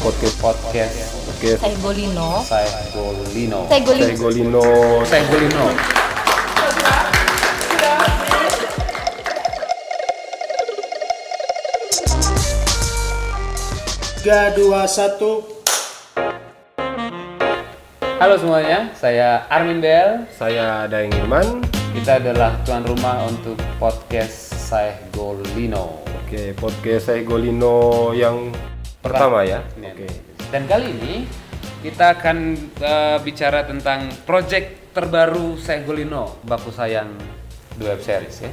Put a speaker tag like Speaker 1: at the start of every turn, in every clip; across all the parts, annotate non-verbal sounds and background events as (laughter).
Speaker 1: podcast podcast podcast
Speaker 2: Saya Bolino.
Speaker 1: Saigolino.
Speaker 2: Saya Golin.
Speaker 3: Segolino.
Speaker 1: Saigolino.
Speaker 4: Tiga, dua, satu.
Speaker 1: Halo semuanya, saya Armin Bell.
Speaker 3: Saya Daeng Irman.
Speaker 1: Kita adalah tuan rumah untuk podcast Saigolino.
Speaker 3: Oke, podcast Segolino yang pertama ya.
Speaker 1: Iya.
Speaker 3: Oke.
Speaker 1: Dan kali ini kita akan eh, bicara tentang project terbaru Saigolino, baku sayang the web series ya.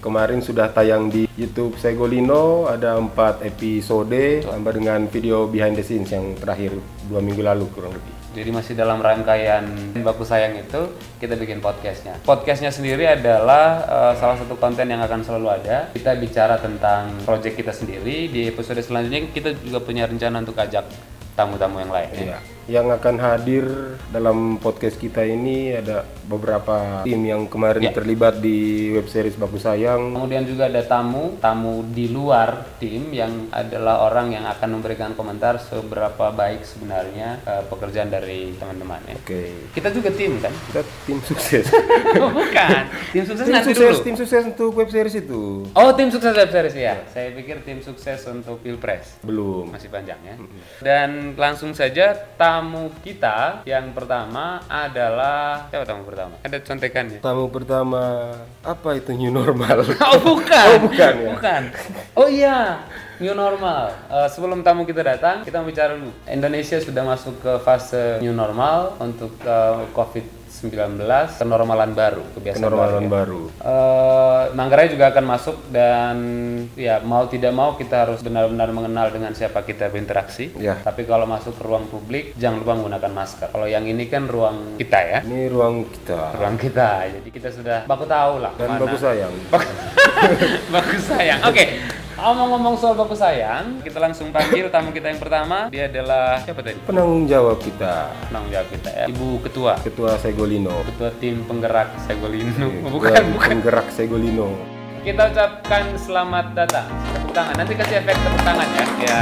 Speaker 3: Kemarin sudah tayang di YouTube Segolino ada empat episode tambah dengan video behind the scenes yang terakhir dua minggu lalu kurang lebih.
Speaker 1: Jadi masih dalam rangkaian baku sayang itu kita bikin podcastnya. Podcastnya sendiri adalah eh, salah satu konten yang akan selalu ada. Kita bicara tentang project kita sendiri. Di episode selanjutnya kita juga punya rencana untuk ajak tamu-tamu yang lain. ya.
Speaker 3: Iya. Yang akan hadir dalam podcast kita ini ada beberapa tim yang
Speaker 1: Iya.
Speaker 3: kemarin terlibat di web series Baku Sayang.
Speaker 1: Kemudian juga ada tamu, tamu di luar tim yang adalah orang yang akan memberikan komentar seberapa baik sebenarnya eh, pekerjaan dari teman-teman ya.
Speaker 3: Oke.
Speaker 1: Kita juga tim
Speaker 3: (laughs)
Speaker 1: kan?
Speaker 3: Kita tim
Speaker 1: (laughs)
Speaker 3: sukses.
Speaker 1: Bukan. Tim sukses
Speaker 3: tim
Speaker 1: nanti
Speaker 3: sukses,
Speaker 1: dulu.
Speaker 3: tim sukses untuk web series itu.
Speaker 1: Oh, tim sukses web series
Speaker 3: Iya.
Speaker 1: ya. Saya pikir tim sukses untuk Pilpres.
Speaker 3: Belum.
Speaker 1: Masih panjang ya.
Speaker 3: Hmm.
Speaker 1: Dan langsung saja tamu kita yang pertama adalah siapa tamu pertama? Ada contekannya.
Speaker 3: Tamu pertama, apa itu new
Speaker 1: (laughs)
Speaker 3: normal?
Speaker 1: Oh bukan.
Speaker 3: Oh, bukan, ya.
Speaker 1: Bukan. Oh iya. New normal. Eh, sebelum tamu kita datang, kita bicara dulu. Indonesia sudah masuk ke fase new normal untuk eh, COVID-19, kenormalan baru, kebiasaan
Speaker 3: Kenormalan
Speaker 1: baru. ya.
Speaker 3: baru.
Speaker 1: Eh, Manggarai juga akan masuk dan ya mau tidak mau kita harus benar-benar mengenal dengan siapa kita berinteraksi.
Speaker 3: Ya.
Speaker 1: Tapi kalau masuk ke ruang publik jangan lupa menggunakan masker. Kalau yang ini kan ruang kita ya,
Speaker 3: Ini ruang kita
Speaker 1: ruang kita. Jadi kita sudah baku tahu lah.
Speaker 3: dan
Speaker 1: mana-
Speaker 3: Baku Sayang.
Speaker 1: (laughs) baku sayang. Oke. Ngomong-ngomong soal baku sayang, kita langsung panggil tamu kita yang pertama. Dia adalah siapa tadi?
Speaker 3: Penanggung jawab kita,
Speaker 1: Penanggung jawab kita ya. Ibu ketua,
Speaker 3: Ketua Segolino.
Speaker 1: ketua tim penggerak Segolino.
Speaker 3: Iya, Ketua
Speaker 1: Bukan, bukan.
Speaker 3: Penggerak Segolino.
Speaker 1: Kita ucapkan selamat datang. Tepuk tangan. Nanti kasih efek tepuk tangan ya. Ya.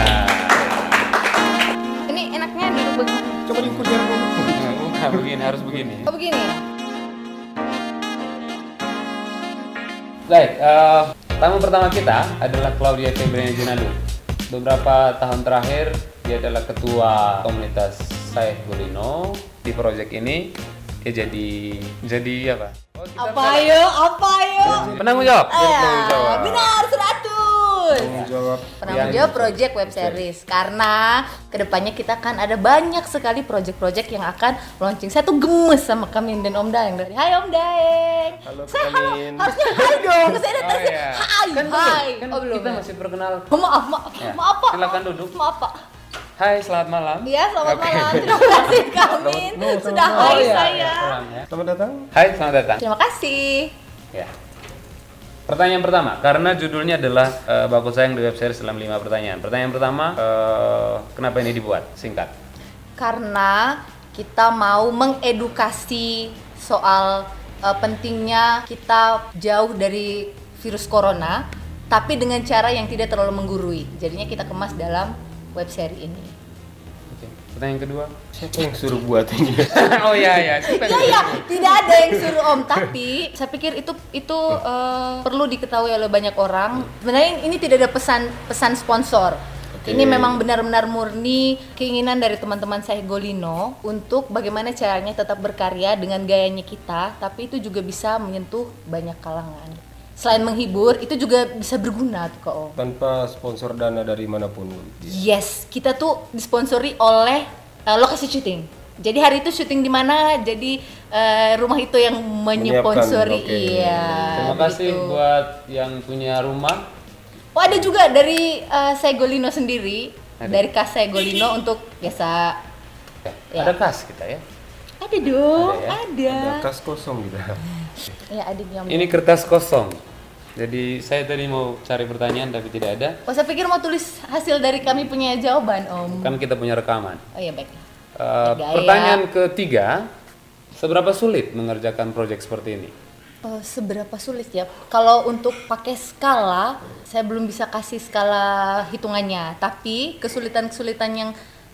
Speaker 2: Ini enaknya duduk begini.
Speaker 3: Coba lingkup jarak dulu.
Speaker 1: Bukan begini, harus begini.
Speaker 2: Oh begini.
Speaker 1: Baik, eh, tamu pertama kita adalah Claudia Febriana Junadu. Beberapa tahun terakhir dia adalah ketua komunitas Saif Gurino di proyek ini. Dia jadi jadi apa? Oh, kita
Speaker 2: Apa yo? Apa yo?
Speaker 1: Penanggung jawab.
Speaker 2: Ah, benar
Speaker 1: Iya.
Speaker 2: 100.
Speaker 3: Penanggung jawab.
Speaker 2: Penanggung jawab project web series karena kedepannya kita akan ada banyak sekali project-project yang akan launching. Saya tuh gemes sama Kamin dan Om Daeng dari Hai Om Daeng.
Speaker 3: Halo, Kak
Speaker 2: saya halo,
Speaker 3: Min.
Speaker 2: harusnya hai dong. Saya
Speaker 1: Oh,
Speaker 2: datang sih.
Speaker 1: iya.
Speaker 2: Hai,
Speaker 1: Kan
Speaker 2: hai.
Speaker 1: belum, kan
Speaker 2: oh belum.
Speaker 1: kita
Speaker 2: ya?
Speaker 1: masih perkenal.
Speaker 2: Oh, maaf, maaf,
Speaker 1: Ya,
Speaker 2: maaf Pak.
Speaker 1: silakan duduk.
Speaker 2: Maaf Pak.
Speaker 1: Hai, selamat malam.
Speaker 2: Iya, selamat
Speaker 1: Oke.
Speaker 2: malam. Terima kasih Kamin
Speaker 3: Selamat- no,
Speaker 2: sudah
Speaker 3: selamat
Speaker 1: Oh,
Speaker 2: hai
Speaker 1: iya, iya,
Speaker 2: saya.
Speaker 1: pulang ya.
Speaker 3: Selamat datang.
Speaker 1: Hai, selamat datang.
Speaker 2: Terima kasih.
Speaker 1: Ya. Pertanyaan pertama, karena judulnya adalah eh, Baku Sayang di web series dalam 5 pertanyaan. Pertanyaan pertama, eh, kenapa ini dibuat? Singkat.
Speaker 2: karena kita mau mengedukasi soal uh, pentingnya kita jauh dari virus corona tapi dengan cara yang tidak terlalu menggurui jadinya kita kemas dalam web seri ini
Speaker 1: Oke. Pertanyaan kedua. (laughs)
Speaker 3: Siapa yang suruh buat ini?
Speaker 1: oh iya iya. Siapa yang-
Speaker 2: ya ya tidak ada yang suruh om tapi saya pikir itu itu uh, perlu diketahui oleh banyak orang sebenarnya ini tidak ada pesan pesan sponsor
Speaker 3: Oke.
Speaker 2: Ini memang benar-benar murni keinginan dari teman-teman saya Golino untuk bagaimana caranya tetap berkarya dengan gayanya kita, tapi itu juga bisa menyentuh banyak kalangan. Selain menghibur, itu juga bisa berguna tuh kok. Om.
Speaker 3: (laughs) Tanpa sponsor dana dari manapun.
Speaker 2: Yes, kita tuh disponsori oleh eh, lokasi syuting. Jadi hari itu syuting di mana? Jadi eh, rumah itu yang
Speaker 3: Menyiapkan, oke.
Speaker 2: menyponsori. Iya.
Speaker 1: Terima kasih
Speaker 2: begitu.
Speaker 1: buat yang punya rumah.
Speaker 2: Oh ada juga dari eh, Segolino sendiri, dari Kas Segolino untuk biasa. Ya.
Speaker 1: Ada kas kita ya.
Speaker 2: Ada dong,
Speaker 1: Ada ya?
Speaker 2: ada.
Speaker 3: Ada kas kosong kita.
Speaker 2: Ya ada yang.
Speaker 1: Ini kertas kosong. Jadi saya tadi mau cari pertanyaan tapi tidak ada.
Speaker 2: Oh saya pikir mau tulis hasil dari kami punya jawaban om.
Speaker 1: Kan kita punya rekaman.
Speaker 2: Oh iya baik.
Speaker 1: Eh,
Speaker 2: Gaya.
Speaker 1: pertanyaan ketiga, seberapa sulit mengerjakan proyek seperti ini?
Speaker 2: Eh, seberapa sulit ya? Kalau untuk pakai skala, saya belum bisa kasih skala hitungannya. Tapi kesulitan-kesulitan yang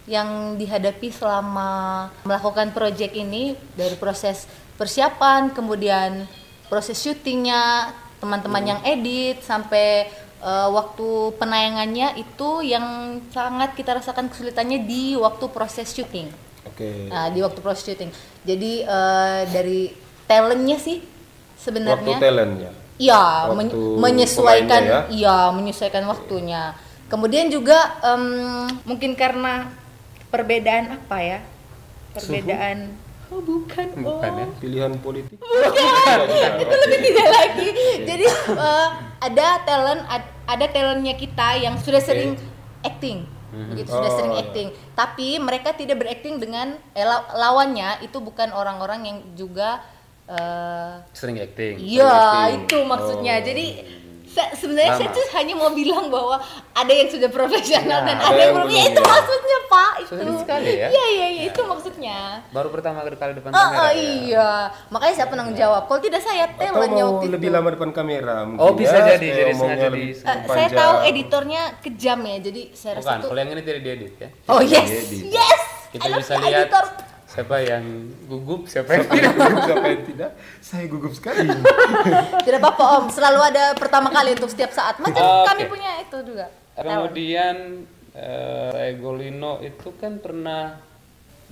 Speaker 2: yang dihadapi selama melakukan proyek ini dari proses persiapan, kemudian proses syutingnya, teman-teman yang edit sampai eh, waktu penayangannya itu yang sangat kita rasakan kesulitannya di waktu proses syuting.
Speaker 3: Oke.
Speaker 2: Nah, di waktu proses syuting. Jadi eh, dari talentnya sih
Speaker 3: Waktu
Speaker 2: sebenarnya.
Speaker 3: talent ya.
Speaker 2: Iya,
Speaker 3: Waktu
Speaker 2: men- menyesuaikan.
Speaker 3: pemainnya ya.
Speaker 2: Iya, menyesuaikan waktunya. Kemudian juga em, mungkin karena perbedaan apa ya? Perbedaan. Oh bukan. Oh.
Speaker 1: Bukan ya?
Speaker 3: Pilihan politik.
Speaker 2: Itu lebih tidak lagi. Jadi eh, ada talent, ad- ada talentnya kita yang sudah sering acting, begitu sudah
Speaker 3: Oh,
Speaker 2: sering
Speaker 3: iya.
Speaker 2: acting. Tapi mereka tidak berakting dengan eh, law- lawannya itu bukan orang-orang yang juga. eh,
Speaker 1: Sering acting.
Speaker 2: Iya,
Speaker 1: sering acting.
Speaker 2: itu maksudnya. Jadi se- sebenarnya saya
Speaker 1: Sama.
Speaker 2: tuh hanya mau bilang bahwa ada yang sudah profesional
Speaker 1: Ya,
Speaker 2: dan
Speaker 3: ada
Speaker 2: ada yang
Speaker 3: yang
Speaker 2: belum. Ya,
Speaker 3: belum,
Speaker 2: itu
Speaker 3: ya.
Speaker 2: maksudnya Pak. Itu.
Speaker 1: Sulit sekali ya.
Speaker 2: Iya iya iya, itu maksudnya.
Speaker 1: Baru pertama kali depan
Speaker 2: Oh,
Speaker 1: kamera.
Speaker 2: oh,
Speaker 1: ya?
Speaker 2: iya, makanya saya penanggung jawab. Kalau tidak saya
Speaker 3: Atau
Speaker 2: talentnya
Speaker 3: mau
Speaker 2: waktu
Speaker 3: lebih
Speaker 2: itu.
Speaker 3: lama depan kamera mungkin
Speaker 1: Oh, bisa
Speaker 3: ya,
Speaker 1: jadi,
Speaker 3: supaya
Speaker 1: jadi
Speaker 3: omongnya
Speaker 1: sengaja
Speaker 3: lebih
Speaker 1: di-
Speaker 2: Eh, saya
Speaker 3: panjang.
Speaker 2: tahu editornya kejam ya, jadi saya rasa
Speaker 1: Bukan,
Speaker 2: tuh.
Speaker 1: kalau yang ini tidak diedit ya.
Speaker 2: Oh yes,
Speaker 3: Jadi.
Speaker 2: yes.
Speaker 1: Kita
Speaker 2: I love
Speaker 1: bisa
Speaker 2: you,
Speaker 1: lihat
Speaker 2: editor.
Speaker 1: siapa yang gugup, siapa yang
Speaker 2: (laughs)
Speaker 1: tidak.
Speaker 3: Siapa yang tidak? Saya gugup sekali.
Speaker 2: Tidak apa-apa Om, selalu ada pertama kali untuk setiap saat. Macam
Speaker 1: Oke.
Speaker 2: kami punya itu juga. talent.
Speaker 1: Kemudian eh, Egolino itu kan pernah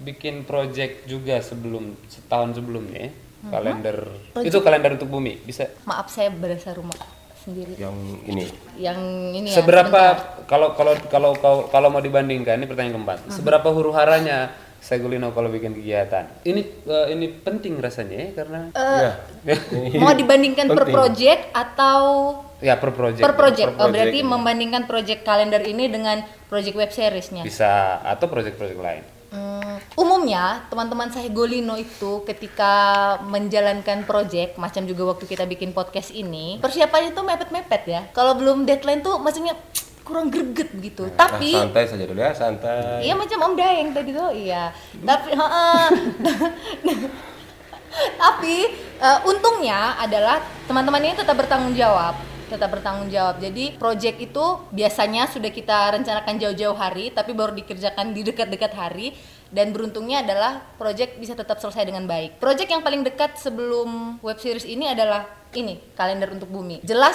Speaker 1: bikin project juga sebelum setahun sebelumnya ya.
Speaker 2: Mm-hmm.
Speaker 1: kalender itu kalender untuk bumi bisa
Speaker 2: Maaf saya berasa rumah sendiri.
Speaker 3: Yang ini.
Speaker 2: yang ini ya,
Speaker 1: seberapa
Speaker 2: sebentar. Mm-hmm.
Speaker 1: kalau kalau kalau kalau kalau mau dibandingkan ini pertanyaan keempat seberapa huru haranya Segolino kalau bikin kegiatan ini eh, ini penting rasanya ya karena
Speaker 2: Eh,
Speaker 3: Ya.
Speaker 2: mau dibandingkan per
Speaker 3: Penting.
Speaker 2: project atau
Speaker 1: (laughs) ya per project
Speaker 2: per project
Speaker 3: per
Speaker 2: oh berarti
Speaker 3: project.
Speaker 2: membandingkan project kalender ini dengan project web seriesnya
Speaker 1: bisa atau project-project lain
Speaker 2: Hmm, umumnya teman-teman saya Golino itu ketika menjalankan project macam juga waktu kita bikin podcast ini persiapannya tuh mepet-mepet ya kalau belum deadline tuh maksudnya kurang greget gitu tapi
Speaker 3: Nah, santai saja dulu ya, santai.
Speaker 2: Iya macam Om Dayeng tadi tuh, iya. Tapi, heeh. (laughs) tapi eh, untungnya adalah teman-teman ini tetap bertanggung jawab, tetap bertanggung jawab. Jadi project itu biasanya sudah kita rencanakan jauh-jauh hari, tapi baru dikerjakan di dekat-dekat hari. Dan beruntungnya adalah project bisa tetap selesai dengan baik. Project yang paling dekat sebelum web series ini adalah ini kalender untuk bumi. Jelas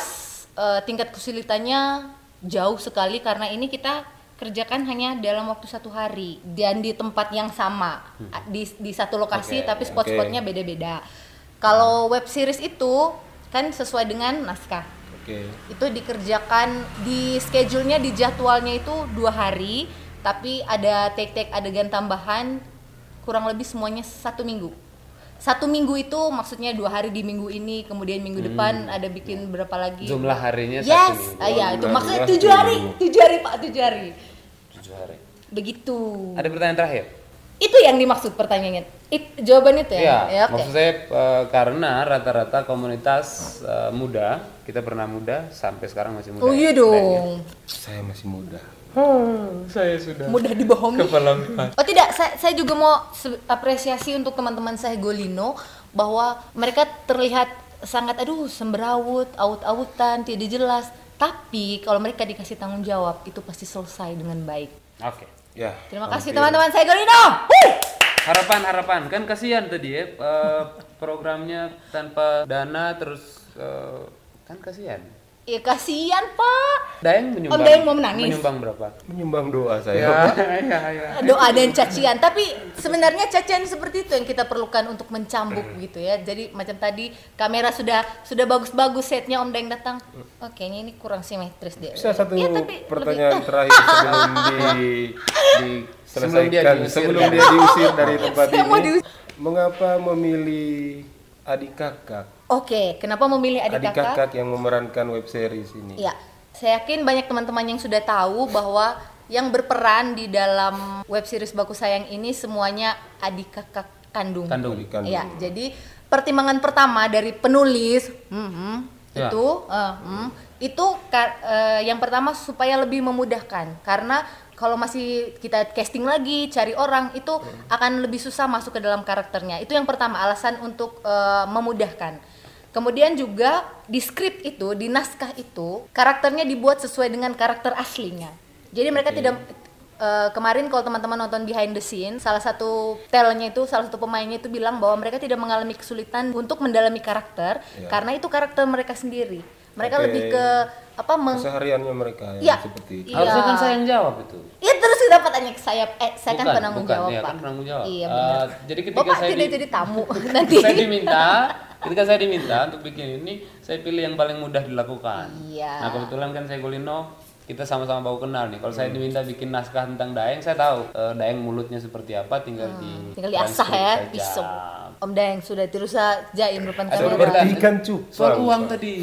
Speaker 2: eh, tingkat kesulitannya jauh sekali karena ini kita kerjakan hanya dalam waktu satu hari dan di tempat yang sama A- di, di satu lokasi
Speaker 1: Hmm. Oke,
Speaker 2: tapi spot-spotnya beda-beda. Kalau web series itu kan sesuai dengan naskah
Speaker 3: Oke.
Speaker 2: itu dikerjakan di schedule-nya di jadwalnya itu dua hari tapi ada take-take adegan tambahan kurang lebih semuanya satu minggu satu minggu itu maksudnya dua hari di minggu ini kemudian minggu depan ada bikin berapa lagi
Speaker 1: Hmm. Ya. jumlah harinya satu
Speaker 2: Iya. yes
Speaker 1: minggu
Speaker 2: ah, iya, itu
Speaker 3: Jumlah
Speaker 2: maksudnya
Speaker 3: harinya
Speaker 2: tujuh
Speaker 3: satu
Speaker 2: hari
Speaker 3: minggu.
Speaker 2: tujuh hari pak tujuh hari
Speaker 1: tujuh hari
Speaker 2: begitu
Speaker 1: ada pertanyaan terakhir
Speaker 2: itu yang dimaksud pertanyaannya It- jawaban itu ya,
Speaker 1: Iya,
Speaker 2: Ya, oke.
Speaker 1: maksud saya eh, karena rata-rata komunitas eh, muda, kita pernah muda sampai sekarang masih muda.
Speaker 2: oh iya
Speaker 1: ya, sebenarnya.
Speaker 2: dong
Speaker 3: Saya masih muda.
Speaker 2: mudah dibohongi. Oh tidak, saya, saya juga mau se- apresiasi untuk teman-teman saya Golino bahwa mereka terlihat sangat aduh semberawut, aut-autan, tidak jelas. Tapi kalau mereka dikasih tanggung jawab itu pasti selesai dengan baik.
Speaker 1: Oke.
Speaker 3: Ya.
Speaker 2: Terima kasih
Speaker 3: hampir.
Speaker 2: teman-teman saya Golino. Wuh!
Speaker 1: Harapan, harapan. Kan kasihan tadi ya eh, programnya tanpa dana terus eh, kan kasihan.
Speaker 2: Ya kasihan Pak.
Speaker 1: Dayang menyumbang.
Speaker 2: Dayang mau menangis. Iya.
Speaker 1: Menyumbang berapa?
Speaker 2: (laughs)
Speaker 3: Menyumbang doa saya.
Speaker 1: Ya, ya, ya.
Speaker 2: Doa dan cacian, tapi sebenarnya cacian seperti itu yang kita perlukan untuk mencambuk
Speaker 3: Hmm.
Speaker 2: gitu ya. Jadi macam tadi kamera sudah sudah bagus-bagus setnya Om Deng datang. Oke, kayaknya ini kurang simetris
Speaker 3: Hmm.
Speaker 2: deh.
Speaker 3: Bisa satu
Speaker 2: Iya, tapi
Speaker 3: pertanyaan
Speaker 2: lebih-
Speaker 3: terakhir
Speaker 2: (laughs)
Speaker 3: sebelum di
Speaker 1: Sebelum dia
Speaker 3: diselesaikan
Speaker 1: diusir.
Speaker 3: sebelum dia diusir dari tempat
Speaker 2: Saya mau
Speaker 3: ini.
Speaker 2: diusir.
Speaker 3: Mengapa memilih adik kakak?
Speaker 2: Oke, kenapa memilih adik,
Speaker 3: Adik
Speaker 2: kakak?
Speaker 3: kakak yang memerankan web series ini.
Speaker 2: Ya, saya yakin banyak teman-teman yang sudah tahu bahwa yang berperan di dalam web series Baku Sayang ini semuanya adik kakak kandung.
Speaker 1: Kandung.
Speaker 3: Adik kandung.
Speaker 2: Iya, jadi pertimbangan pertama dari penulis mhm,
Speaker 1: Ya.
Speaker 2: itu eh, mhm, itu ka- eh, yang pertama supaya lebih memudahkan karena kalau masih kita casting lagi cari orang itu akan lebih susah masuk ke dalam karakternya itu yang pertama alasan untuk eh, memudahkan Kemudian juga di skrip itu, di naskah itu, karakternya dibuat sesuai dengan karakter aslinya. Jadi mereka tidak eh, kemarin kalau teman-teman nonton behind the scene, salah satu telnya itu, salah satu pemainnya itu bilang bahwa mereka tidak mengalami kesulitan untuk mendalami karakter karena itu karakter mereka sendiri. Mereka
Speaker 3: Iya. Oke.
Speaker 2: lebih ke apa meng
Speaker 3: Kesehariannya mereka yang
Speaker 2: Iya.
Speaker 3: seperti itu.
Speaker 2: Iya.
Speaker 1: Harusnya kan saya yang jawab itu.
Speaker 2: Ya terus kenapa tanya ke saya? Eh, saya kan
Speaker 1: Bukan,
Speaker 2: penanggung
Speaker 1: bukan.
Speaker 2: jawab,
Speaker 1: Iya,
Speaker 2: Pak.
Speaker 1: kan penanggung jawab.
Speaker 2: Iya,
Speaker 1: Eh,
Speaker 2: benar.
Speaker 1: jadi ketika
Speaker 2: Bapak
Speaker 1: saya
Speaker 2: tidak
Speaker 1: di-
Speaker 2: jadi
Speaker 1: (laughs)
Speaker 2: tamu (laughs) nanti.
Speaker 1: saya diminta, ketika saya diminta untuk bikin ini, saya pilih yang paling mudah dilakukan.
Speaker 2: Iya.
Speaker 1: Nah kebetulan kan saya Golino, kita sama-sama baru kenal nih. Kalau
Speaker 3: Hmm.
Speaker 1: saya diminta bikin naskah tentang Daeng, saya tahu eh, Daeng mulutnya seperti apa, tinggal di
Speaker 2: Tinggal diasah ya,
Speaker 1: transkrip saja.
Speaker 2: pisau. Om Daeng sudah eh, tirusa jaim depan
Speaker 1: Ada
Speaker 2: kamera.
Speaker 1: berita.
Speaker 3: Ikan cupang.
Speaker 1: Soal uang tadi.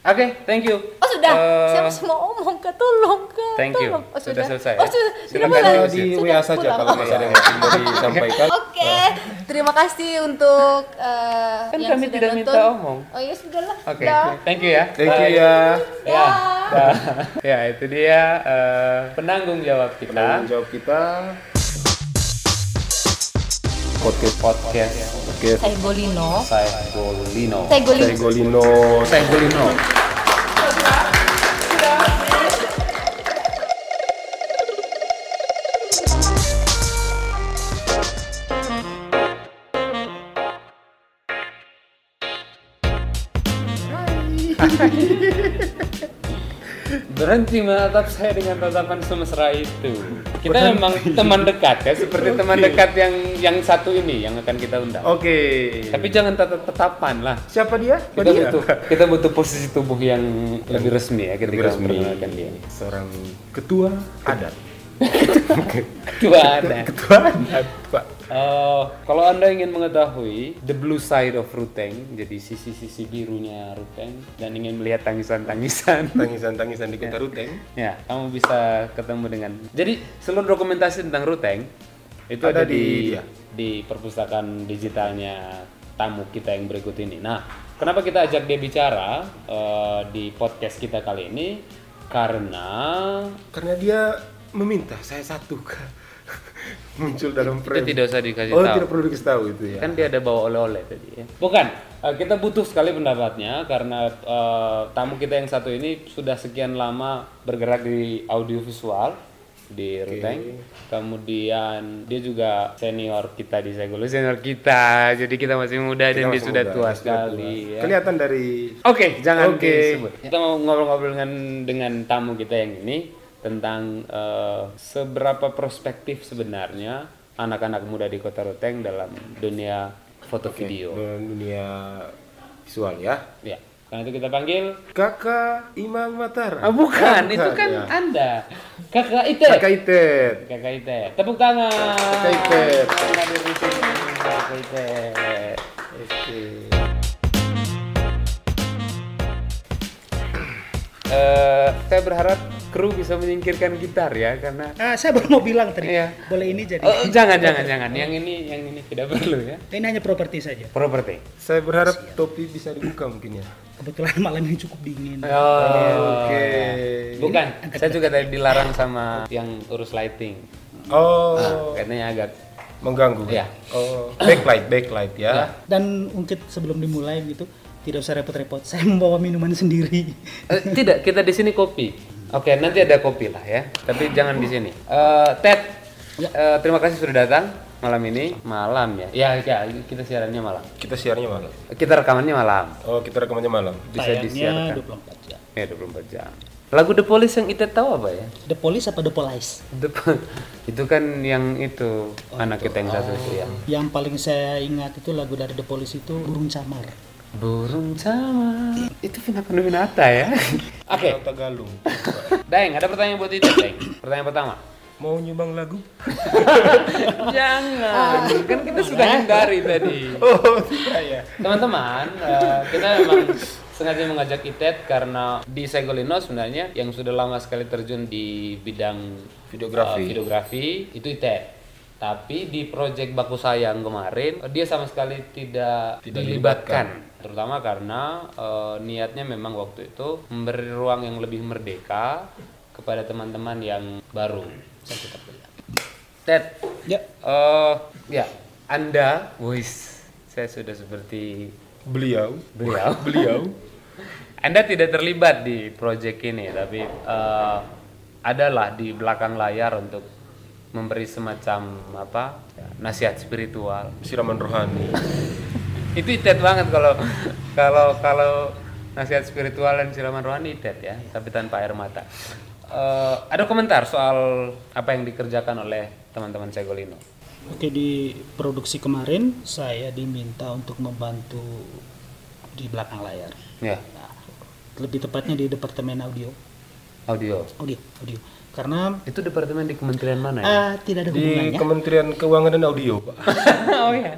Speaker 1: Oke, thank you.
Speaker 2: Oh sudah,
Speaker 1: Eh,
Speaker 2: saya masih mau omong ke tolong ke.
Speaker 1: Thank you.
Speaker 2: tolong. Oh,
Speaker 1: Sudah
Speaker 2: sudah.
Speaker 1: selesai ya?
Speaker 2: Oh sudah. Sudah
Speaker 1: Silakan
Speaker 2: mulai.
Speaker 3: Kalau
Speaker 1: Sudah
Speaker 3: di WA saja
Speaker 2: pulang.
Speaker 3: kalau masih ada
Speaker 2: (laughs)
Speaker 3: yang masih mau disampaikan.
Speaker 2: Oke, terima kasih untuk eh,
Speaker 1: Kan
Speaker 2: yang
Speaker 1: kami
Speaker 2: sudah
Speaker 1: tidak
Speaker 2: nonton.
Speaker 1: minta omong.
Speaker 2: Oh ya sudahlah.
Speaker 1: Oke,
Speaker 2: Dah.
Speaker 1: thank you ya.
Speaker 3: Thank you
Speaker 1: Bye.
Speaker 3: ya.
Speaker 1: Ya,
Speaker 2: Dah.
Speaker 1: dah. (laughs) ya itu dia eh, penanggung jawab kita.
Speaker 3: Penanggung jawab kita. Podcast
Speaker 1: podcast
Speaker 3: podcast
Speaker 2: Saya Golino.
Speaker 1: Saifulino.
Speaker 2: Saya Golino.
Speaker 3: Segolino.
Speaker 1: Saifulino. Berhenti menatap saya dengan tatapan semesra itu. Kita memang teman dekat ya, seperti teman dekat yang yang satu ini yang akan kita undang.
Speaker 3: Oke.
Speaker 1: Tapi jangan tatap tatapan lah.
Speaker 3: siapa dia? Siapa
Speaker 1: Kita
Speaker 3: dia?
Speaker 1: butuh kita butuh posisi tubuh yang lebih resmi ya
Speaker 3: Lebih
Speaker 1: ketika
Speaker 3: resmi.
Speaker 1: memperkenalkan dia.
Speaker 3: Seorang ketua
Speaker 1: (laughs)
Speaker 3: adat.
Speaker 1: Dua ada.
Speaker 3: (laughs) Ketua adat, Pak.
Speaker 1: Eh, kalau anda ingin mengetahui the blue side of Ruteng, jadi sisi-sisi birunya Ruteng, dan ingin melihat tangisan-tangisan, (laughs)
Speaker 3: Tangisan-tangisan di Kota Ruteng.
Speaker 1: ya kamu bisa ketemu dengan. Jadi seluruh dokumentasi tentang Ruteng itu ada,
Speaker 3: Ada
Speaker 1: di
Speaker 3: di-
Speaker 1: di,
Speaker 3: ya.
Speaker 1: perpustakaan digitalnya tamu kita yang berikut ini. Nah, kenapa kita ajak dia bicara eh, di podcast kita kali ini? Karena
Speaker 3: Karena dia meminta saya satu Kak. (laughs) muncul dalam
Speaker 1: itu
Speaker 3: frame.
Speaker 1: tidak usah dikasih
Speaker 3: oh,
Speaker 1: tahu.
Speaker 3: tidak perlu dikasih tahu itu ya.
Speaker 1: kan dia ada bawa oleh-oleh tadi ya. Bukan, eh, kita butuh sekali pendapatnya karena eh, tamu kita yang satu ini sudah sekian lama bergerak di audiovisual di Ruteng. Kemudian dia juga senior kita di Segulu, senior kita. Jadi kita masih muda dan
Speaker 3: Kita
Speaker 1: dia
Speaker 3: masih
Speaker 1: sudah
Speaker 3: muda,
Speaker 1: tua
Speaker 3: dia sudah
Speaker 1: sekali
Speaker 3: tua.
Speaker 1: ya.
Speaker 3: Kelihatan dari
Speaker 1: Oke, jangan
Speaker 3: Oke.
Speaker 1: disebut. Kita mau ngobrol-ngobrol dengan dengan tamu kita yang ini tentang eh, seberapa prospektif sebenarnya anak-anak muda di Kota Ruteng dalam dunia foto video.
Speaker 3: dalam dunia visual ya.
Speaker 1: Ya, karena itu kita panggil.
Speaker 3: Kakak Imam Matar.
Speaker 1: Ah, bukan, itu kan
Speaker 3: ya.
Speaker 1: Anda. Kakak Ite.
Speaker 3: Kakak Itet.
Speaker 1: Kakak Ite. Tepuk tangan.
Speaker 3: Kakak Ite.
Speaker 1: Yang hadir di sini, Kakak Ite.
Speaker 3: Oke.
Speaker 1: Eh, saya berharap kru bisa menyingkirkan gitar ya karena
Speaker 4: Ah, saya baru mau bilang tadi,
Speaker 1: Iya.
Speaker 4: boleh ini jadi. Iya.
Speaker 1: Oh, jangan, jangan, jangan. Yang ini, yang ini tidak perlu ya.
Speaker 4: Ini hanya properti saja.
Speaker 1: Properti.
Speaker 3: Saya berharap topi bisa dibuka mungkin ya.
Speaker 4: Kebetulan malam ini Iya, cukup dingin.
Speaker 1: Oh,
Speaker 3: Oke.
Speaker 1: Bukan, saya juga tadi
Speaker 4: (laughs)
Speaker 1: dilarang sama yang urus lighting.
Speaker 3: Oh,
Speaker 1: Katanya agak.
Speaker 3: mengganggu.
Speaker 1: Ah. Iya.
Speaker 3: Oh, backlight, backlight ya.
Speaker 4: Dan ungkit sebelum dimulai gitu, tidak usah repot-repot. Saya membawa minuman (laughs) sendiri.
Speaker 1: Eh, tidak, kita di sini kopi. Oke, nanti ada kopi lah ya. Tapi jangan di sini. Eh, Ted,
Speaker 4: Ya.
Speaker 1: eh, terima kasih sudah datang malam ini. Malam ya. Ya, ya kita siarannya malam.
Speaker 3: Kita siarnya malam.
Speaker 1: Kita rekamannya malam.
Speaker 3: Oh, kita rekamannya malam.
Speaker 1: Bisa
Speaker 4: Tayangnya
Speaker 1: disiarkan.
Speaker 4: 24 jam.
Speaker 1: Ya, 24 jam. Lagu The Police yang Ite tahu apa ya?
Speaker 4: The Police apa The Police?
Speaker 1: The Pol- (laughs) itu kan yang itu anak kita yang satu itu ya.
Speaker 4: Yang paling saya ingat itu lagu dari The Police itu Burung Camar.
Speaker 1: Burung sama. Itu Vina Panduwinata ya. (laughs) Oke,
Speaker 3: Orang Tagalog.
Speaker 1: Daeng, ada pertanyaan buat itu, Daeng. Pertanyaan pertama.
Speaker 3: Mau nyumbang lagu?
Speaker 1: Jangan, kan kita sudah hindari tadi.
Speaker 3: Oh, tidak ya.
Speaker 1: Teman-teman, eh, kita memang sengaja mengajak Itet karena di Segolino sebenarnya yang sudah lama sekali terjun di bidang
Speaker 3: Videografi.
Speaker 1: eh, videografi itu Itet. Tapi di proyek Baku Sayang kemarin eh, dia sama sekali tidak,
Speaker 3: Tidak
Speaker 1: dilibatkan. terutama karena eh, niatnya memang waktu itu memberi ruang yang lebih merdeka kepada teman-teman yang baru. Ted,
Speaker 4: Ya,
Speaker 1: Eh, ya, Anda, wis, saya sudah seperti
Speaker 3: beliau
Speaker 1: Beliau.
Speaker 3: beliau
Speaker 1: (laughs) Anda tidak terlibat di proyek ini, tapi eh, adalah di belakang layar untuk memberi semacam apa ya, nasihat spiritual.
Speaker 3: siraman rohani
Speaker 1: Itu itet banget kalau (laughs) kalau kalau nasihat spiritual dan siraman rohani itet ya, tapi tanpa air mata. Eh, ada komentar soal apa yang dikerjakan oleh teman-teman Segolino?
Speaker 4: Oke di produksi kemarin saya diminta untuk membantu di belakang layar.
Speaker 1: Ya,
Speaker 4: Nah, lebih tepatnya di departemen audio.
Speaker 1: audio.
Speaker 4: Audio, audio. Karena
Speaker 1: Itu departemen di kementerian mana ya?
Speaker 4: eh, tidak ada
Speaker 3: di
Speaker 4: hubungannya.
Speaker 3: Kementerian Keuangan dan Audio Pak.
Speaker 1: oh ya.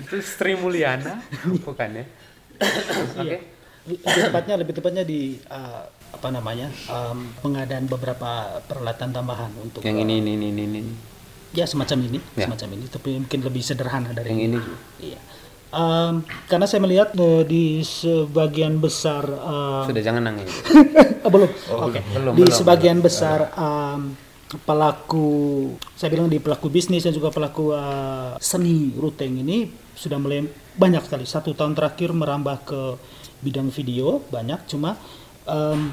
Speaker 1: Itu Sri Mulyana, (laughs) Iya. bukan (coughs) ya? Oke.
Speaker 4: lebih tepatnya lebih tepatnya di eh, apa namanya em, pengadaan beberapa peralatan tambahan untuk
Speaker 1: Yang ini, ini, ini, ini, ini.
Speaker 4: ya semacam ini
Speaker 1: Ya.
Speaker 4: semacam ini tapi mungkin lebih sederhana dari
Speaker 1: Yang ini.
Speaker 4: iya Em, karena saya melihat eh, di sebagian besar em,
Speaker 1: Sudah jangan nangis.
Speaker 4: Oh, belum. Oke.
Speaker 1: belum,
Speaker 4: Di
Speaker 1: belum.
Speaker 4: sebagian besar um, pelaku saya bilang di pelaku bisnis dan juga pelaku uh, seni ruteng ini sudah mulai banyak sekali. Satu tahun terakhir merambah ke bidang video banyak cuma um,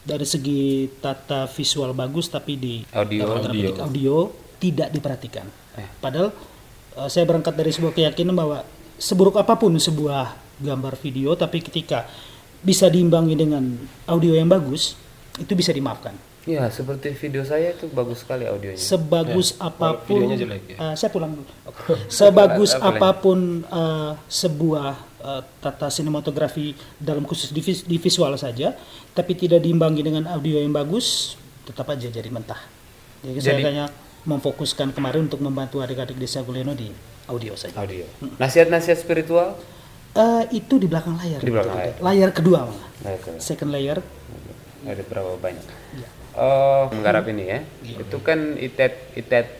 Speaker 4: dari segi tata visual bagus tapi di
Speaker 1: Audio.
Speaker 4: tata petik audio. tidak diperhatikan.
Speaker 1: Eh.
Speaker 4: Padahal uh, saya berangkat dari sebuah keyakinan bahwa seburuk apapun sebuah gambar video tapi ketika bisa diimbangi dengan audio yang bagus itu bisa dimaafkan.
Speaker 1: Ya, seperti video saya itu bagus sekali audionya.
Speaker 4: Sebagus apapun
Speaker 3: videonya jelek ya.
Speaker 4: uh, saya pulang dulu.
Speaker 1: (laughs)
Speaker 4: Sebagus
Speaker 1: Boleh.
Speaker 4: apapun uh, sebuah uh, tata sinematografi dalam khusus di, vis- di visual saja tapi tidak diimbangi dengan audio yang bagus tetap aja jadi mentah. Jadi, saya
Speaker 1: Jadi-
Speaker 4: hanya memfokuskan kemarin untuk membantu adik-adik desa Guleno di audio saja.
Speaker 1: Audio. Nasihat-nasihat spiritual?
Speaker 4: Eh, itu di belakang layar.
Speaker 1: Di belakang layar.
Speaker 4: kedua malah.
Speaker 1: Nah, itu.
Speaker 4: Second layer.
Speaker 1: Ada berapa banyak? Oh, menggarap ini ya. Itu kan itet itet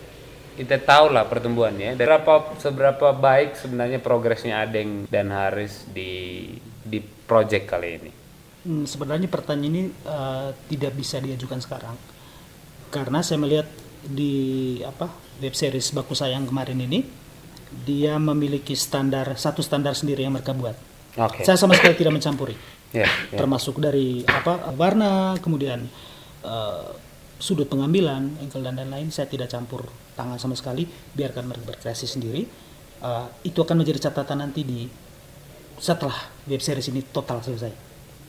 Speaker 1: itet tahu lah pertumbuhannya. Dan Berapa seberapa baik sebenarnya progresnya Adeng dan Haris di di project kali ini.
Speaker 4: Hmm, sebenarnya pertanyaan ini eh, tidak bisa diajukan sekarang. Karena saya melihat di apa web series Baku Sayang kemarin ini dia memiliki standar satu standar sendiri yang mereka buat.
Speaker 1: Oke.
Speaker 4: Saya sama sekali tidak mencampuri.
Speaker 1: Ya, ya.
Speaker 4: Termasuk dari apa warna, kemudian eh, sudut pengambilan, angle dan lain-lain saya tidak campur tangan sama sekali, biarkan mereka berkreasi sendiri. Eh, itu akan menjadi catatan nanti di setelah web series ini total selesai.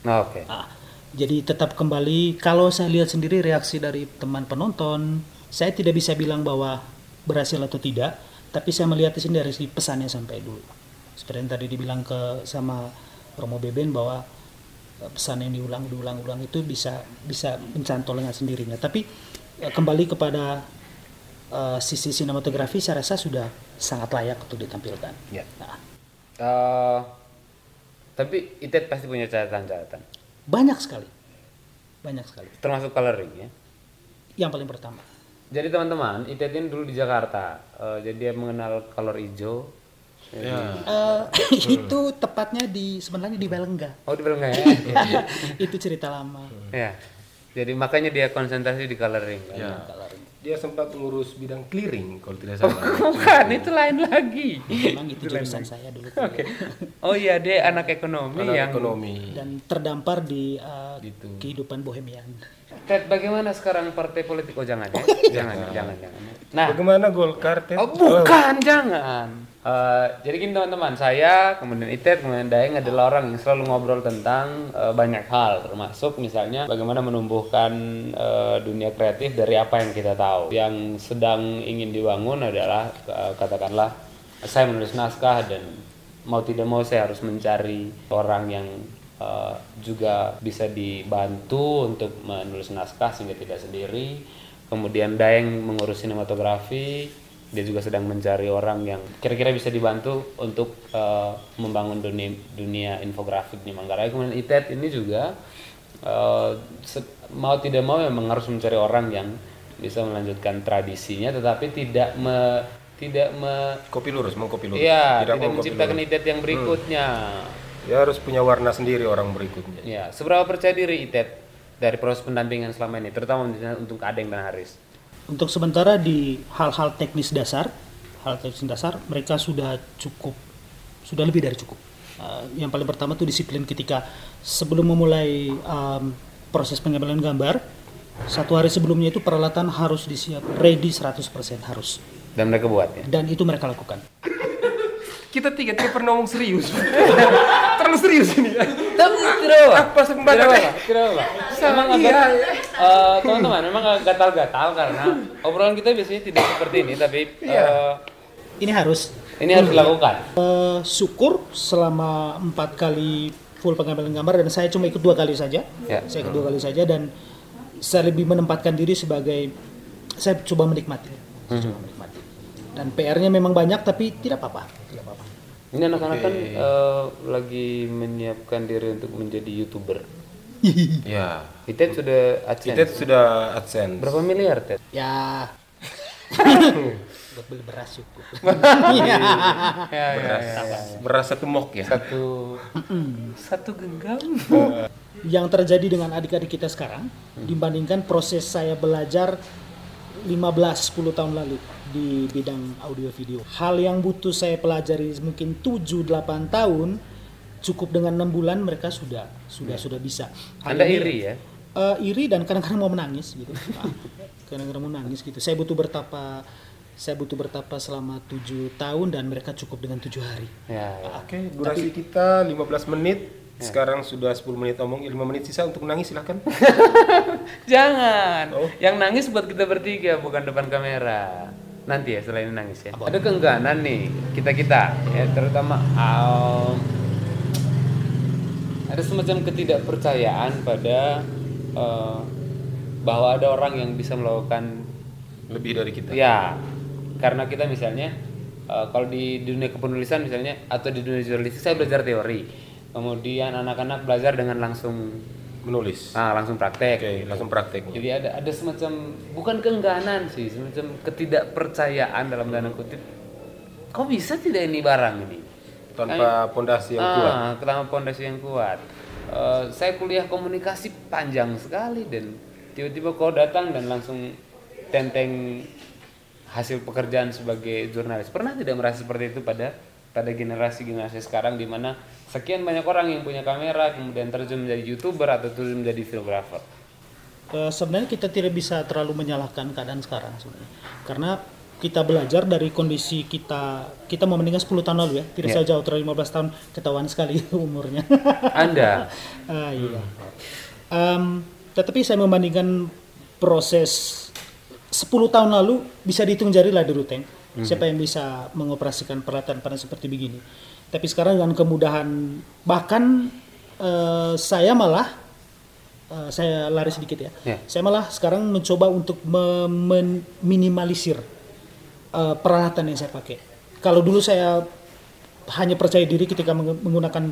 Speaker 1: Oh, Oke.
Speaker 4: Ah, jadi tetap kembali kalau saya lihat sendiri reaksi dari teman penonton, saya tidak bisa bilang bahwa berhasil atau tidak, tapi saya melihat di sini dari segi pesannya sampai dulu. Seperti yang tadi dibilang ke sama Romo Beben bahwa eh, pesan yang diulang diulang ulang itu bisa bisa mencantol dengan sendirinya. Tapi eh, kembali kepada eh, sisi sinematografi saya rasa sudah sangat layak untuk ditampilkan.
Speaker 1: Ya.
Speaker 4: Nah,
Speaker 1: Eh, tapi Itet pasti punya catatan-catatan.
Speaker 4: banyak sekali. Banyak sekali.
Speaker 1: Termasuk coloring ya.
Speaker 4: Yang paling pertama
Speaker 1: Jadi teman-teman, Itet ini dulu di Jakarta. Eh, jadi dia mengenal color hijau.
Speaker 4: Eh, (laughs) itu tepatnya di sebenarnya di Belengga. (laughs)
Speaker 1: Oh, di Belengga ya?
Speaker 3: (laughs)
Speaker 4: itu cerita lama.
Speaker 1: ya. Jadi makanya dia konsentrasi di coloring. kan?
Speaker 3: ya. dia sempat ngurus bidang clearing kalau tidak
Speaker 1: Oh,
Speaker 3: salah
Speaker 1: Bukan, itu lain lagi.
Speaker 4: Memang itu jurusan saya dulu.
Speaker 1: Oke. (laughs) Oh iya, dia anak ekonomi
Speaker 3: Anak
Speaker 1: yang
Speaker 3: ekonomi
Speaker 4: Dan terdampar di eh,
Speaker 3: Gitu.
Speaker 4: kehidupan bohemian.
Speaker 1: Ted, bagaimana sekarang partai politik? Oh, jangan
Speaker 3: (laughs)
Speaker 1: ya. jangan, jangan, jangan. Nah,
Speaker 3: Iya. bagaimana Golkar Ted?
Speaker 1: Oh, bukan, jangan. Eh, jadi gini teman-teman, saya kemudian Itet kemudian Daeng adalah orang yang selalu ngobrol tentang eh, banyak hal, termasuk misalnya bagaimana menumbuhkan eh, dunia kreatif dari apa yang kita tahu. Yang sedang ingin dibangun adalah eh, katakanlah saya menulis naskah dan mau tidak mau saya harus mencari orang yang eh, juga bisa dibantu untuk menulis naskah sehingga tidak sendiri kemudian Daeng mengurus sinematografi dia juga sedang mencari orang yang kira-kira bisa dibantu untuk eh, membangun dunia dunia infografik di Manggarai kemudian Itet ini juga eh, se- mau tidak mau memang harus mencari orang yang bisa melanjutkan tradisinya tetapi tidak me- tidak me
Speaker 3: kopi lurus mengkopi lurus
Speaker 1: Iya, tidak,
Speaker 3: tidak mau kopi
Speaker 1: menciptakan Itet yang berikutnya
Speaker 3: dia harus punya warna sendiri orang berikutnya
Speaker 1: ya seberapa percaya diri Itet dari proses pendampingan selama ini terutama untuk Adeng dan Haris
Speaker 4: Untuk sementara di hal-hal teknis dasar, hal teknis dasar mereka sudah cukup, sudah lebih dari cukup. Uh, yang paling pertama tuh disiplin ketika sebelum memulai um, proses pengambilan gambar satu hari sebelumnya itu peralatan harus disiap ready 100% harus
Speaker 1: Dan mereka buat ya.
Speaker 4: dan itu mereka lakukan
Speaker 3: Kita tiga tiga pernah ngomong serius. (laughs) Terlalu serius ini.
Speaker 1: Tapi kira apa?
Speaker 3: Apa sempat
Speaker 1: Kira apa?
Speaker 3: apa?
Speaker 1: Kira apa? Emang
Speaker 3: iya.
Speaker 1: agak, eh, teman-teman, memang agak gatal-gatal karena obrolan kita biasanya tidak seperti ini, tapi eh,
Speaker 4: ini harus
Speaker 1: ini harus dilakukan.
Speaker 4: Eh, syukur selama empat kali full pengambilan gambar dan saya cuma ikut dua kali saja.
Speaker 1: Ya.
Speaker 4: Saya ikut dua kali saja dan saya lebih menempatkan diri sebagai saya coba menikmati. Saya coba menikmati. Dan PR-nya memang banyak tapi tidak apa-apa, tidak apa-apa.
Speaker 1: Ini anak-anak kan eh, lagi menyiapkan diri untuk menjadi youtuber.
Speaker 3: Ya.
Speaker 1: Itet sudah
Speaker 3: Kita
Speaker 1: adsense.
Speaker 3: sudah adsense.
Speaker 1: Berapa miliar Ted?
Speaker 4: Ya. Buat beli beras cukup.
Speaker 1: Ya,
Speaker 3: Iya,
Speaker 1: ya, ya.
Speaker 3: Berasa temok ya.
Speaker 1: Satu satu genggam.
Speaker 4: yang terjadi dengan adik-adik kita sekarang dibandingkan proses saya belajar 15-10 tahun lalu di bidang audio video. Hal yang butuh saya pelajari mungkin 7-8 tahun cukup dengan enam bulan mereka sudah sudah sudah bisa. Hal
Speaker 1: Anda
Speaker 4: ini-
Speaker 1: iri ya?
Speaker 4: Eh, iri dan kadang-kadang mau menangis gitu. Ah, kadang-kadang mau menangis gitu. Saya butuh bertapa saya butuh bertapa selama 7 tahun dan mereka cukup dengan tujuh hari.
Speaker 1: Ya. ya.
Speaker 3: Oke, durasi kita 15 menit. Sekarang sudah 10 menit omong, 5 menit sisa untuk nangis silahkan.
Speaker 1: Jangan.
Speaker 3: Oh.
Speaker 1: Yang nangis buat kita bertiga bukan depan kamera. Nanti ya setelah ini nangis ya. Ada keengganan nih kita kita ya terutama um, ada semacam ketidakpercayaan pada eh, bahwa ada orang yang bisa melakukan
Speaker 3: (laughs) Lebih dari kita.
Speaker 1: ya karena kita misalnya eh, kalau di dunia kepenulisan misalnya atau di dunia jurnalistik saya belajar teori kemudian anak-anak belajar dengan langsung
Speaker 3: Menulis.
Speaker 1: ah langsung
Speaker 3: Oke,
Speaker 1: praktek
Speaker 3: langsung prakteknya.
Speaker 1: jadi ada ada semacam bukan keengganan sih, semacam ketidakpercayaan dalam tanda kutip. Kok bisa tidak ini barang ini?
Speaker 3: Tanpa pondasi yang kuat.
Speaker 1: Ah, tanpa pondasi yang kuat. Eh, saya kuliah komunikasi panjang sekali dan tiba-tiba kau datang dan langsung tenteng hasil pekerjaan sebagai jurnalis. Pernah tidak merasa seperti itu pada pada generasi generasi sekarang di mana sekian banyak orang yang punya kamera kemudian terjun menjadi youtuber atau terjun menjadi videographer.
Speaker 4: Eh, sebenarnya kita tidak bisa terlalu menyalahkan keadaan sekarang sebenarnya karena kita belajar dari kondisi kita kita mau menikah 10 tahun lalu ya tidak saya jauh terlalu 15 tahun ketahuan sekali (laughs) umurnya
Speaker 1: Anda
Speaker 4: ah iya Em, tetapi saya membandingkan proses 10 tahun lalu bisa dihitung jari lah di Ruteng siapa yang bisa mengoperasikan peralatan panas seperti begini tapi sekarang dengan kemudahan bahkan eh, saya malah Eh, saya lari sedikit ya.
Speaker 1: Ya.
Speaker 4: Saya malah sekarang mencoba untuk me- men- minimalisir eh, peralatan yang saya pakai. Kalau dulu saya hanya percaya diri ketika meng- menggunakan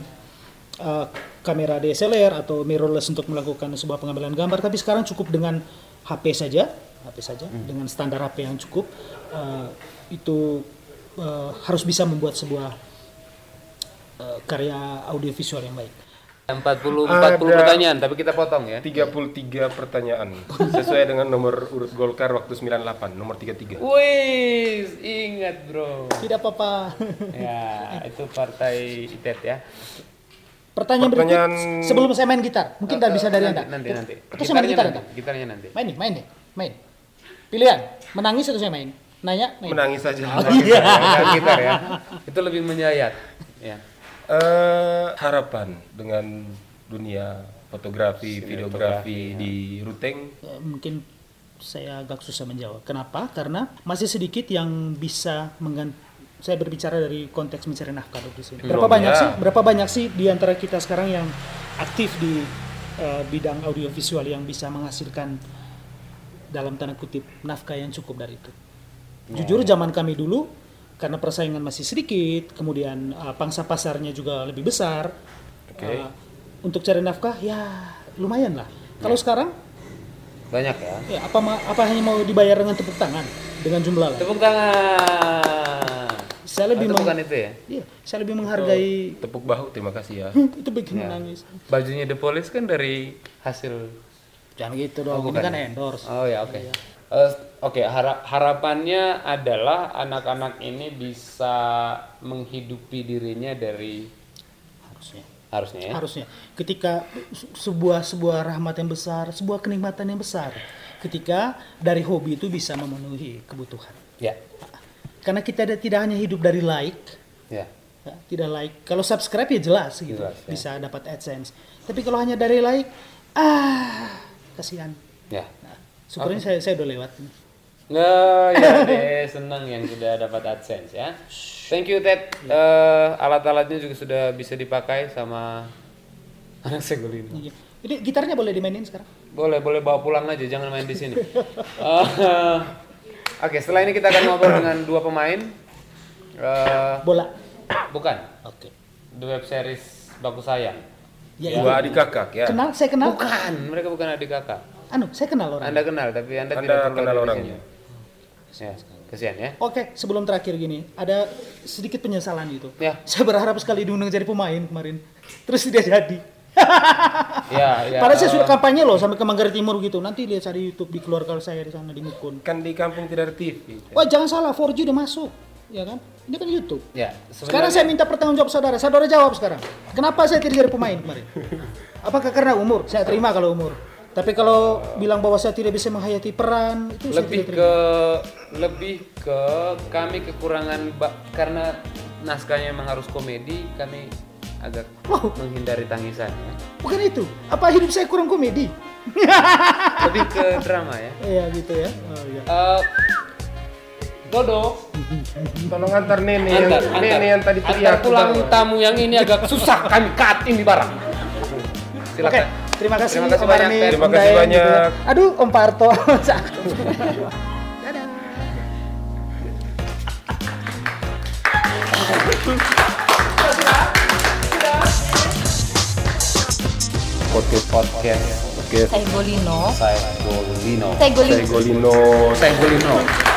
Speaker 4: eh, kamera DSLR atau mirrorless untuk melakukan sebuah pengambilan gambar, tapi sekarang cukup dengan HP saja, HP saja dengan standar HP yang cukup eh, itu eh, harus bisa membuat sebuah eh, karya audiovisual yang baik.
Speaker 1: 40 40
Speaker 3: Ada.
Speaker 1: pertanyaan tapi kita potong ya.
Speaker 3: 33 pertanyaan sesuai dengan nomor urut Golkar waktu 98, nomor 33.
Speaker 1: Wih, ingat bro.
Speaker 4: Tidak apa-apa. (laughs)
Speaker 1: Ya, itu partai ITET ya.
Speaker 4: Pertanyaan,
Speaker 3: Pertanyaan-
Speaker 4: berikut sebelum saya main gitar, mungkin tak bisa dari
Speaker 1: Eh, nanti,
Speaker 4: anda.
Speaker 1: Nanti nanti.
Speaker 4: Atau saya main gitar
Speaker 1: nanti,
Speaker 4: anda.
Speaker 1: gitarnya
Speaker 4: (laughs)
Speaker 1: nanti.
Speaker 4: Main nih, main nih, main. Pilihan, menangis atau saya main? Nanya, main.
Speaker 3: Menangis saja.
Speaker 1: Iya, gitar ya. Itu lebih menyayat. Ya.
Speaker 3: Eh, harapan dengan dunia fotografi, videografi di Ruteng
Speaker 4: Eh, Mungkin saya agak susah menjawab. Kenapa? Karena masih sedikit yang bisa mengganti. Saya berbicara dari konteks mencari nafkah dulu di sini. Berapa
Speaker 3: Belum,
Speaker 4: banyak
Speaker 3: ya.
Speaker 4: sih? Berapa banyak sih di antara kita sekarang yang aktif di eh, bidang audiovisual yang bisa menghasilkan dalam tanda kutip nafkah yang cukup dari itu? Jujur zaman kami dulu karena persaingan masih sedikit, kemudian uh, pangsa pasarnya juga lebih besar. Uh, untuk cari nafkah ya lumayan lah. Kalau
Speaker 3: Ya.
Speaker 4: sekarang
Speaker 1: Banyak ya.
Speaker 4: ya apa ma- apa hanya mau dibayar dengan tepuk tangan dengan jumlah lah.
Speaker 1: Tepuk tangan.
Speaker 4: Saya lebih
Speaker 1: Atau
Speaker 4: meng-
Speaker 1: bukan itu ya.
Speaker 4: Iya, saya lebih menghargai
Speaker 3: tepuk bahu terima kasih ya.
Speaker 1: Oh.
Speaker 4: (laughs) itu bikin menangis.
Speaker 1: Bajunya The Police kan dari hasil
Speaker 4: Jangan gitu dong, ini kan endorse.
Speaker 1: Oh ya oke. Eh, oke hara- harapannya adalah anak-anak ini bisa menghidupi dirinya dari
Speaker 4: harusnya
Speaker 1: Ah, harusnya ya.
Speaker 4: harusnya ketika se- sebuah sebuah rahmat yang besar sebuah kenikmatan yang besar ketika dari hobi itu bisa memenuhi kebutuhan
Speaker 1: Ya.
Speaker 4: karena kita ada- tidak hanya hidup dari like
Speaker 1: Ya.
Speaker 4: ya, tidak like kalau subscribe ya jelas gitu
Speaker 1: Jelas, ya.
Speaker 4: bisa dapat adsense tapi kalau hanya dari like ah kasihan
Speaker 1: Ya.
Speaker 4: nah, syukurnya saya saya udah lewat
Speaker 1: Nah, ya deh, senang yang sudah dapat AdSense ya. Thank you Ted. Eh, alat-alatnya juga sudah bisa dipakai sama anak segolino.
Speaker 4: Iya. jadi gitarnya boleh dimainin sekarang
Speaker 1: Boleh, boleh bawa pulang aja, jangan main di sini. Eh, Oke, setelah ini kita akan ngobrol dengan dua pemain. Eh,
Speaker 4: bola
Speaker 1: bukan,
Speaker 4: oke
Speaker 1: the web series Baku Sayang.
Speaker 4: ya,
Speaker 3: Dua adik kakak ya.
Speaker 4: kenal saya kenal
Speaker 1: Bukan, mereka bukan adik kakak.
Speaker 4: anu saya kenal orang
Speaker 1: Anda kenal, tapi Anda,
Speaker 3: Anda
Speaker 1: tidak terkenal di
Speaker 3: kenal orangnya.
Speaker 1: sini. Ya, kesian ya.
Speaker 4: Oke, sebelum terakhir gini, ada sedikit penyesalan gitu.
Speaker 1: Ya.
Speaker 4: Saya berharap sekali diundang jadi pemain kemarin. Terus tidak jadi.
Speaker 1: Ya, ya.
Speaker 4: Padahal
Speaker 1: eh,
Speaker 4: saya sudah kampanye loh sampai ke Manggarai Timur gitu. Nanti lihat cari YouTube di keluarga saya di sana di Mukun.
Speaker 3: Kan di kampung tidak ada TV.
Speaker 4: Wah, jangan salah, 4G udah masuk. Ya kan? Ini kan YouTube.
Speaker 1: Ya,
Speaker 4: Sekarang saya minta pertanggung jawab saudara. Saudara jawab sekarang. Kenapa saya tidak jadi pemain kemarin? Apakah karena umur? Saya terima kalau umur. Tapi kalau bilang bahwa saya tidak bisa menghayati peran, itu saya
Speaker 1: lebih
Speaker 4: tidak terima.
Speaker 1: ke lebih ke kami kekurangan ba- karena naskahnya memang harus komedi kami agak
Speaker 4: Wow.
Speaker 1: menghindari tangisan ya.
Speaker 4: Bukan itu. Apa hidup saya kurang komedi?
Speaker 1: lebih ke drama ya
Speaker 4: Iya gitu ya. Oh, iya.
Speaker 1: Eh, Dodo
Speaker 3: Tolong antar nenek yang
Speaker 1: antar antar
Speaker 3: nenek yang tadi
Speaker 1: antar
Speaker 3: teriak.
Speaker 1: pulang
Speaker 3: ke bawah.
Speaker 1: tamu yang ini agak susah kami cut ini barang
Speaker 4: Oke,
Speaker 1: silakan
Speaker 4: terima kasih
Speaker 1: Terima kasih
Speaker 4: Om
Speaker 1: banyak,
Speaker 4: Arni,
Speaker 1: Fer.
Speaker 3: Terima
Speaker 4: Om
Speaker 3: kasih
Speaker 4: Daeng, gitu ya.
Speaker 3: banyak.
Speaker 4: Aduh, Om Parto. (laughs)
Speaker 3: Podcast
Speaker 1: podcast
Speaker 3: podcast
Speaker 2: Segolino.
Speaker 1: saya Golino
Speaker 2: Segolino.
Speaker 3: Segolino.
Speaker 1: saya Golino